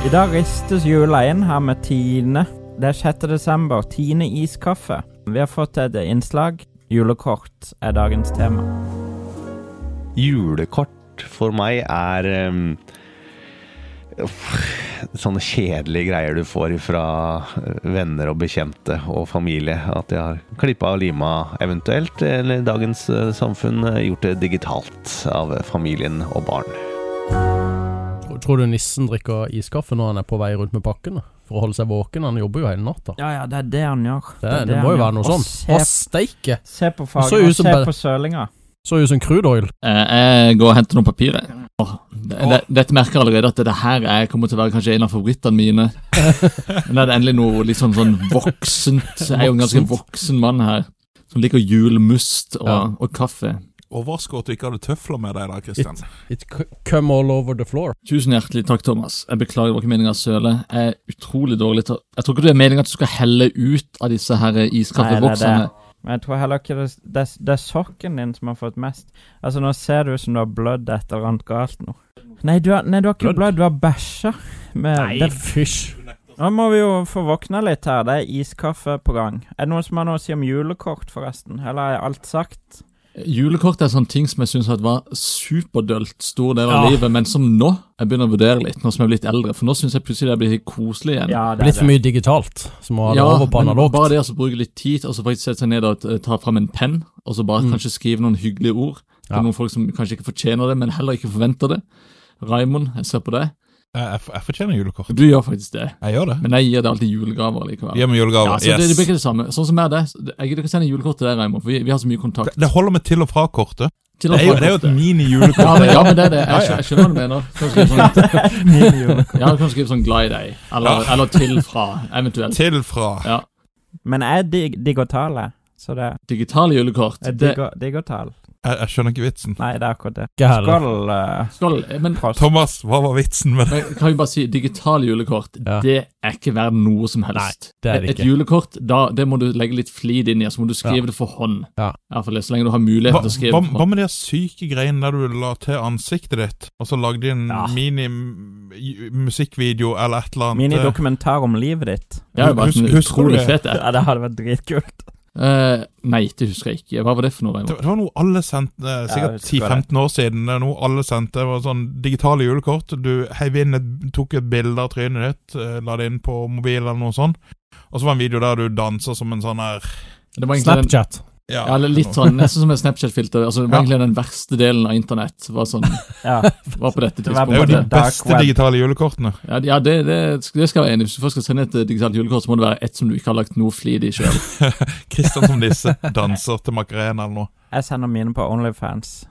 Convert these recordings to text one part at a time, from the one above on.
I dag ristes jula inn her med Tine. Det er 6. desember. Tine iskaffe. Vi har fått et innslag. Julekort er dagens tema. Julekort for meg er ehm, uff, sånne kjedelige greier du får fra eh, venner og bekjente og familie. At de har klippa og lima, eventuelt, eller i dagens eh, samfunn eh, gjort det digitalt av eh, familien og barn. Tror, tror du nissen drikker iskaffe når han er på vei rundt med pakkene? For å holde seg våken, han jobber jo hele natta. Ja ja, det er det han gjør. Det, er det, må han jo gjør. være noe sånt. Å, Og se, steike! se på Så ut fargen, og som se bare- på sølinga. Så ut som crude oil. Eh, Jeg går og henter noen papirer. Åh, det, det, dette merker jeg allerede at det her er, kommer til å være kanskje en av favorittene mine. Men det er endelig noe litt sånn, sånn voksent. Jeg er jo en ganske voksen mann her, som liker julmust og, Ja. og kaffe. Overrasker at du ikke hadde tøfler med deg i dag, Kristian. It c- come all over the floor. Tusen hjertelig takk, Thomas. Jeg beklager det var ikke meningen å søle. Jeg er utrolig dårlig til å Jeg tror ikke det er meningen at du skal helle ut av disse her Nei, det er iskaffeboksene. det. Men jeg tror heller ikke det, det, det er sokken din som har fått mest. Altså, nå ser det ut som du har blødd et eller annet galt nå. Nei, du har, nei, du har ikke Blødd? blødd, du har bæsja. Med- det- fysj. Nå må vi jo få våkne litt her. Det er iskaffe på gang. Er det noen som har noe å si om julekort, forresten? Eller er alt sagt? Julekort er sånn ting som jeg syns var superdølt stor del av Ja. livet, men som nå jeg begynner å vurdere litt, nå som jeg er blitt eldre. For nå syns jeg plutselig det blir helt koselig igjen. Ja, Litt for mye digitalt, så må ha det over på men analogt. bare det å så bruke litt tid, og så faktisk sette seg ned og eh, ta fram en penn, og så bare Mm. kanskje skrive noen hyggelige ord. Det Ja. er noen folk som kanskje ikke fortjener det, men heller ikke forventer det. Raimond, jeg ser på deg. Jeg, jeg, jeg fortjener julekort. Du gjør faktisk det, Jeg gjør det. men jeg gir deg alltid julegaver likevel. Gi meg Ja, julegaver. så det, det Yes. blir ikke det samme. Sånn som jeg er det. Jeg gidder ikke sende julekort til deg, Raimond, for vi, vi har så mye kontakt. Det- Det holder med til og fra-kortet. Det, Til og er jo- fra- det er jo et ja, mini-julekort. men, ja, men det er det. Ja, ja. Jeg, skjø- jeg skjønner hva du mener. Kan skrive sånn, mye. ja, kan skrive sånn glad i deg, eller, Ja. eller til fra, eventuelt. Til fra. Ja. Men jeg dig digger tale, så det Digitale julekort. Jeg Det, digger, digger tale. Jeg, jeg skjønner ikke vitsen. Nei, det er akkurat det. Ikke heller. Skål, eh, skal, men Prost. Thomas, hva var vitsen med det? Men kan vi bare si, digitale julekort, Ja. det er ikke verdt noe som helst. det er det Et- ikke. Et julekort, da, det må du legge litt flid inn i, og så må du skrive det for hånd. Ja. I hvert fall så lenge du har mulighet Hva, til å skrive hva, det for hva hånd. med de her syke greiene der du la til ansiktet ditt, og så lagde de en Ja. mini-musikkvideo eller et eh. eller annet? eh, Minidokumentar om livet ditt. Det har jo vært Husk- en husker du utrolig det? fet app. Ja, det hadde vært dritkult. Eh, nei, det husker jeg ikke. Hva var det for noe? Raymond? Det, det var noe alle sendte eh, sikkert jeg husker 10-15 år siden. Det er noe alle sendte. Det var sånn digitale julekort. Du heiv inn et, tok et bilde av trynet ditt, eh, la det inn på mobil eller noe sånt. Og så var det en video der du danser som en sånn her Det var egentlig den, Snapchat. Ja, ja, eller litt sånn, nesten som en Snapchat-filter. Altså, det var Ja. egentlig den verste delen av internett, var, sånn, Ja. var på dette Det var Det er jo tidspunktet. de sånn Dark beste web. digitale julekortene. Ja, ja det, det, det skal jeg være enig i. Hvis du først skal sende et eh, digitalt julekort, så må det være et som du ikke har lagt noe flid i sjøl. Kristian som disse danser til Macarena eller noe. Jeg sender mine på Onlyfans.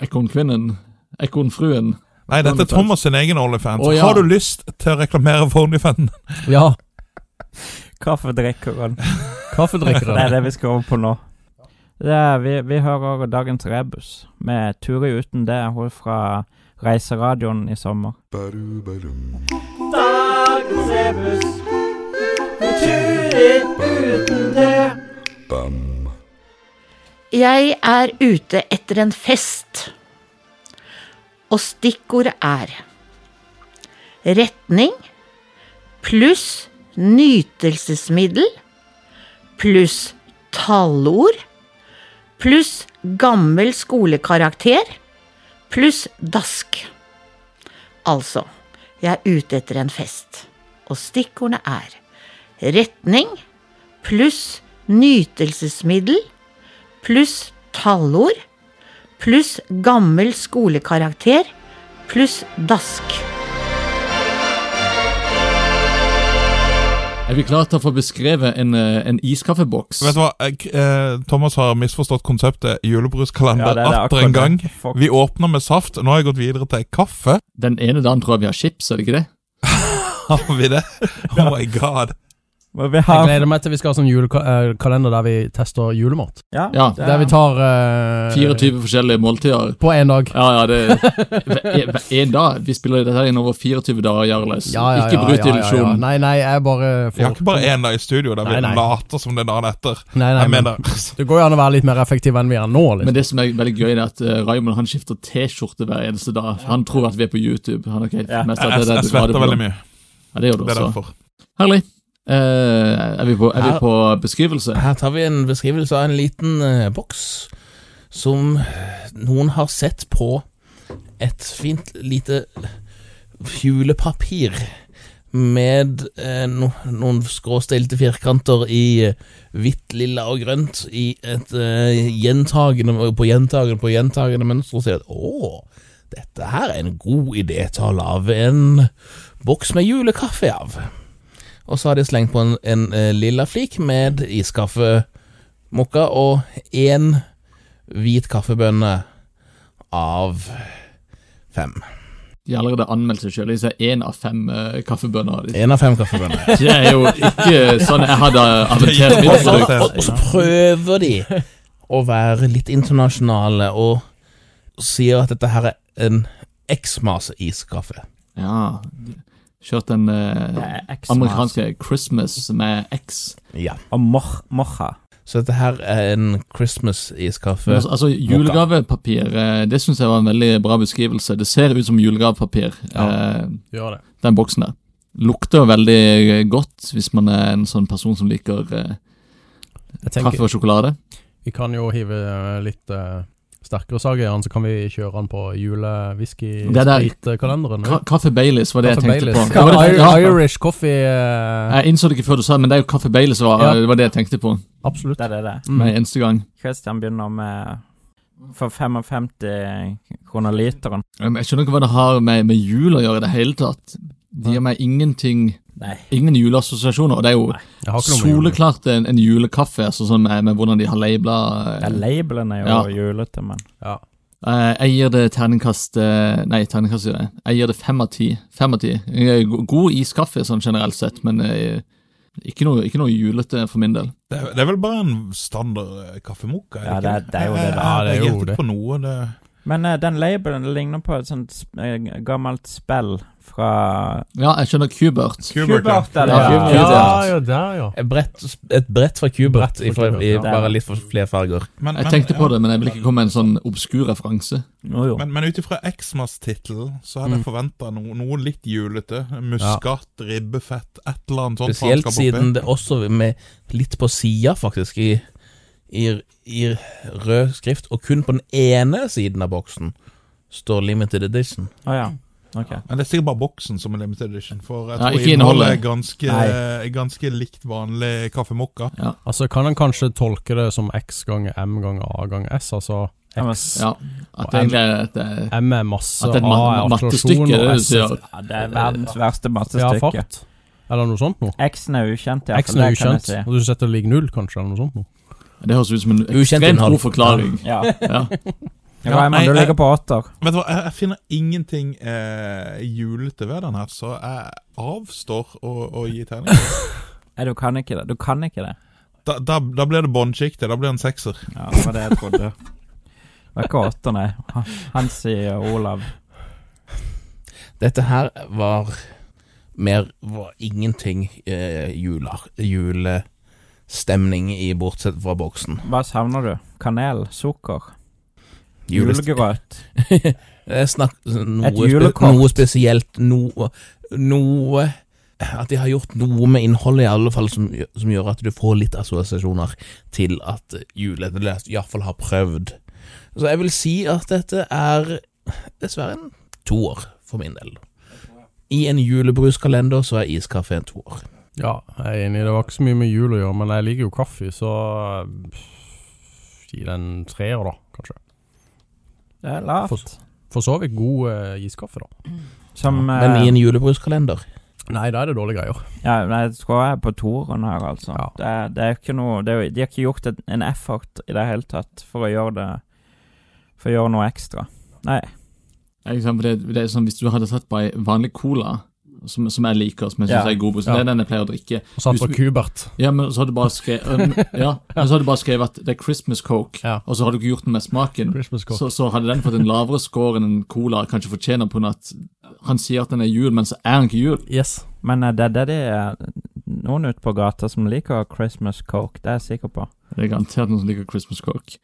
Ekornkvinnen. Ekornfruen. Sånn Nei, dette er Thomas sin egen OnlyFans. Å, ja. Har du lyst til å reklamere for OnlyFans? Ja, Kaffedrikkeren. Det er kaffedrikkere. det vi skal over på nå. Det er, vi, vi hører dagens rebus med Turi uten det, hun fra Reiseradioen i sommer. Dagens rebus med Turi uten det. Jeg er ute etter en fest. Og stikkordet er retning pluss nytelsesmiddel pluss tallord pluss gammel skolekarakter pluss dask. Altså, jeg er ute etter en fest, og stikkordene er retning pluss nytelsesmiddel pluss tallord pluss gammel skolekarakter pluss dask. Er vi klare til å få beskrevet en, eh, en iskaffeboks? Vet du hva, eh, K- eh, Thomas har misforstått konseptet Ja, julebruskalender det er det atter akkurat en gang. det. Fuck. Vi åpner med saft. Nå har jeg gått videre til kaffe. Den ene dagen tror jeg vi har chips, er det ikke det? Har vi det? Oh my god. Må vi Jeg har gleder meg til vi skal ha sånn julekalender der vi tester julemat. Ja. Ja, det er- Der vi tar eh, 24 forskjellige måltider. på én dag. Ja, ja, det Én dag? Vi spiller dette her inn over 24 dager, Jarles. Ja, ja, ikke ja, bryt ja, ja, ja. illusjonen. Nei, nei, jeg bare Vi har får ikke bare én dag i studio der Nei, vi nei. later som det er dagen etter. Nei, nei, Jeg men mener det går jo an å være litt mer effektiv enn vi er nå. Liksom. Men det som er veldig gøy, det er at eh, Raymond han skifter T-skjorte hver eneste dag. for Han tror at vi er på YouTube. Han er ikke helt Ja. mest at Jeg, det er jeg det svetter radioprogrammet. veldig mye. Ja, det gjør du Det er også. derfor. Herlig. Eh, er, vi på, er vi Her- på beskrivelse? Altså, Her tar vi en beskrivelse av en liten eh, boks som noen har sett på et fint lite julepapir med eh, no, noen skråstilte firkanter i eh, hvitt, lilla og grønt i et eh, gjentagende på gjentagende på gjentagende mønster og sier at å, dette her er en god idé til å lage en boks med julekaffe av. Og så har de slengt på en, en eh, lilla flik med iskaffemokka og én hvit kaffebønne av fem. De har allerede anmeldt seg sjøl. De sier én av fem eh, kaffebønner. Én av fem kaffebønner. Det er jo ikke sånn jeg hadde aventert Og mitt så, produkt. og, og så prøver de å være litt internasjonale og sier at dette her er en X-mase iskaffe. Ja. Kjørt den eh, amerikanske Christmas med X. Ja. Og mor morra. Så dette her er en Christmas-iskaffe. Altså, altså Julegavepapir, eh, det syns jeg var en veldig bra beskrivelse. Det ser ut som julegavepapir, eh, Gjør det. den boksen der. Lukter veldig eh, godt hvis man er en sånn person som liker eh, Jeg kaffe tenker, og sjokolade. vi kan jo hive eh, litt eh, sterkere sag i den, så kan vi kjøre den på Det der- julewhisky-kalenderen. Ka kaffe Baileys var det Kaffe jeg tenkte Baileys. på. Det var det, Ir- ja, Irish coffee eh, jeg innså det ikke før du sa det, men det er jo kaffe Baileys var, Ja. det var det jeg tenkte på. Absolutt. Det er det det. Mm. Med eneste gang. Christian begynner med for 55 kroner literen. Um, Jeg skjønner ikke hva det har med, med jul å gjøre i det hele tatt. Det gir meg ingenting Nei. Ingen juleassosiasjoner. Og det er jo Jeg har ikke noe med jul. soleklart en, en julekaffe, altså sånn med, med hvordan de har øh. labla Ja, labelen er jo Ja. julete, men Eh, Jeg gir det terningkast eh, Nei, terningkast sier jeg. Jeg gir det fem av ti. Fem av ti. Eh, go- God iskaffe sånn generelt sett, men eh, ikke noe, ikke noe julete for min del. Det er, det er vel bare en standard eh, kaffemokka? Ja, det er- det er jo det det er. Ja, det er jo det. På noe, det. Men eh, den labelen ligner på et sånt sp- eh, gammelt spill fra Ja, jeg skjønner Kubert. Kubert, ja. Kubert, eller? Ja, Ja. Kubert. Ja, ja, der, ja. Et brett, et brett fra Kubert, Brett fra i, for- i Kubert, ja. bare litt for flere farger. Men- Jeg men- tenkte på ja. det, men jeg vil ikke komme med en sånn obskur referanse. Jo, jo. Men, men ut ifra Xmas-tittelen så hadde jeg forventa noe, noe litt julete. Muskat, ribbefett, et eller annet sånt. Spesielt faenskap oppi. siden det også med litt på sida, faktisk, i, i, i rød skrift, og kun på den ene siden av boksen står limited edition. Å ja. Ok. Men det er sikkert bare boksen som er limited edition, for jeg Ja, tror ikke innholdet er innholdet. ganske, Nei. ganske likt vanlig kaffemokka. Altså, kan en kanskje tolke det som X ganger M ganger A ganger S, altså Ja, men, X. Ja, At det egentlig er at det er M er masse, At A det er er et akselerasjon, ma- mattestykke, det og du S er sier. ja, det er verdens verste ja, mattestykke. fart. Eller noe sånt noe. X-en er ukjent, ja. for X-en er det kan jeg ukjent, og du setter lik null, kanskje, eller noe sånt noe. Det høres ut som en Ukjent ekstremt innhold. god forklaring. si. Ja. Ja. Ja, Raymond, nei, du jeg- ligger på åtter. Vet du hva, jeg, jeg finner ingenting eh, julete ved den her, så jeg avstår å, å gi tegning. Nei, du kan ikke det. Du kan ikke det. Da, da, da blir det båndsjiktet. Da blir det en sekser. Ja, det var det jeg trodde. Det var ikke åtter, nei. Han- Hans og Olav. Dette her var mer var ingenting eh, juler, julestemning i, bortsett fra boksen. Hva savner du? Kanel? Sukker? Julest- Julegrøt? Eh, Snakk noe, Et spe julekort. noe spesielt, noe, noe At de har gjort noe med innholdet, i alle fall, som, gjø- som gjør at du får litt assosiasjoner til at juleetterlest iallfall har prøvd. Så jeg vil si at dette er dessverre en toer, for min del. I en julebruskalender så er iskaffe en toer. Ja, jeg er enig, det var ikke så mye med jul å gjøre, men jeg liker jo kaffe, så eh, gi den treer, da, kanskje. Det er lavt. For så vidt god eh, iskaffe, da. Som eh, Men i en julebruskalender Nei, da er det dårlige greier. Ja, nei, jeg tror jeg er på toeren her, altså. Ja. Det, er, det er ikke noe det er, jo- De har ikke gjort et, en effort i det hele tatt for å gjøre det For å gjøre noe ekstra. Nei. Ja, ikke sant, for det, det er sånn, Hvis du hadde tatt på ei vanlig cola, som, som jeg liker, som jeg syns Ja. er god på, så det er den jeg pleier å drikke Og satt på Kubert. Ja, men så hadde du bare skrevet um, Ja, men så hadde du bare skrevet at det er Christmas Coke, Ja. og så hadde du ikke gjort den med smaken. Christmas coke. Så, så hadde den fått en lavere score enn en cola kanskje fortjener på grunn av at han sier at den er jul, men så er han ikke jul. Yes. Men eh, det er det de er noen ute på gata som liker Christmas Coke, det er jeg sikker på. Det er garantert noen som liker Christmas Coke.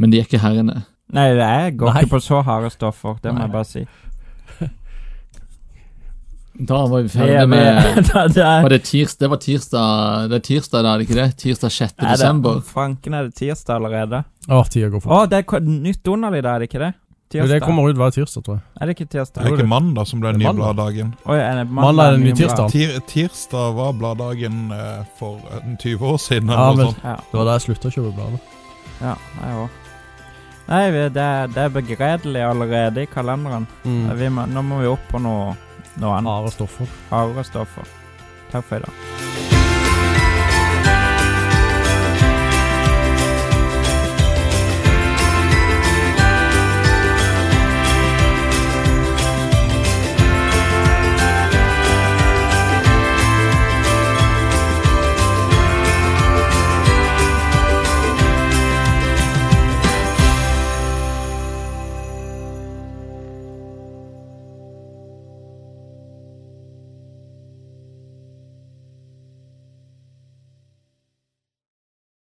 Men de er ikke her inne. Nei, jeg går Nei. ikke på så harde stoffer, det må Nei. jeg bare si. Da var vi Vi er ferdig med med- Da- da- var det, tirs, det var tirsdag Det er tirsdag, da, er det ikke det? Tirsdag 6. Er desember. det, fanken er det tirsdag allerede? Å, tida går Å, fort. det er ko- nytt Donald i dag, er det ikke det? Jo, Tirsdag. det kommer ut hver tirsdag, tror jeg. Er det ikke tirsdag? Er det ikke mandag som ble Det er ny mandag. bladdagen? Oi, er det Mandag er det ny tirsdag. Tir tirsdag var bladdagen eh, for en 20 år siden. Ja, Eller noe men- sånt. Ja, Det var da jeg slutta å kjøpe blader. ja, jeg òg. Nei, vi- det, er- det er begredelig allerede i kalenderen. Mm. Vi må, nå må vi opp på noe, noe annet. Rare stoffer. Hardere stoffer. Takk for i dag.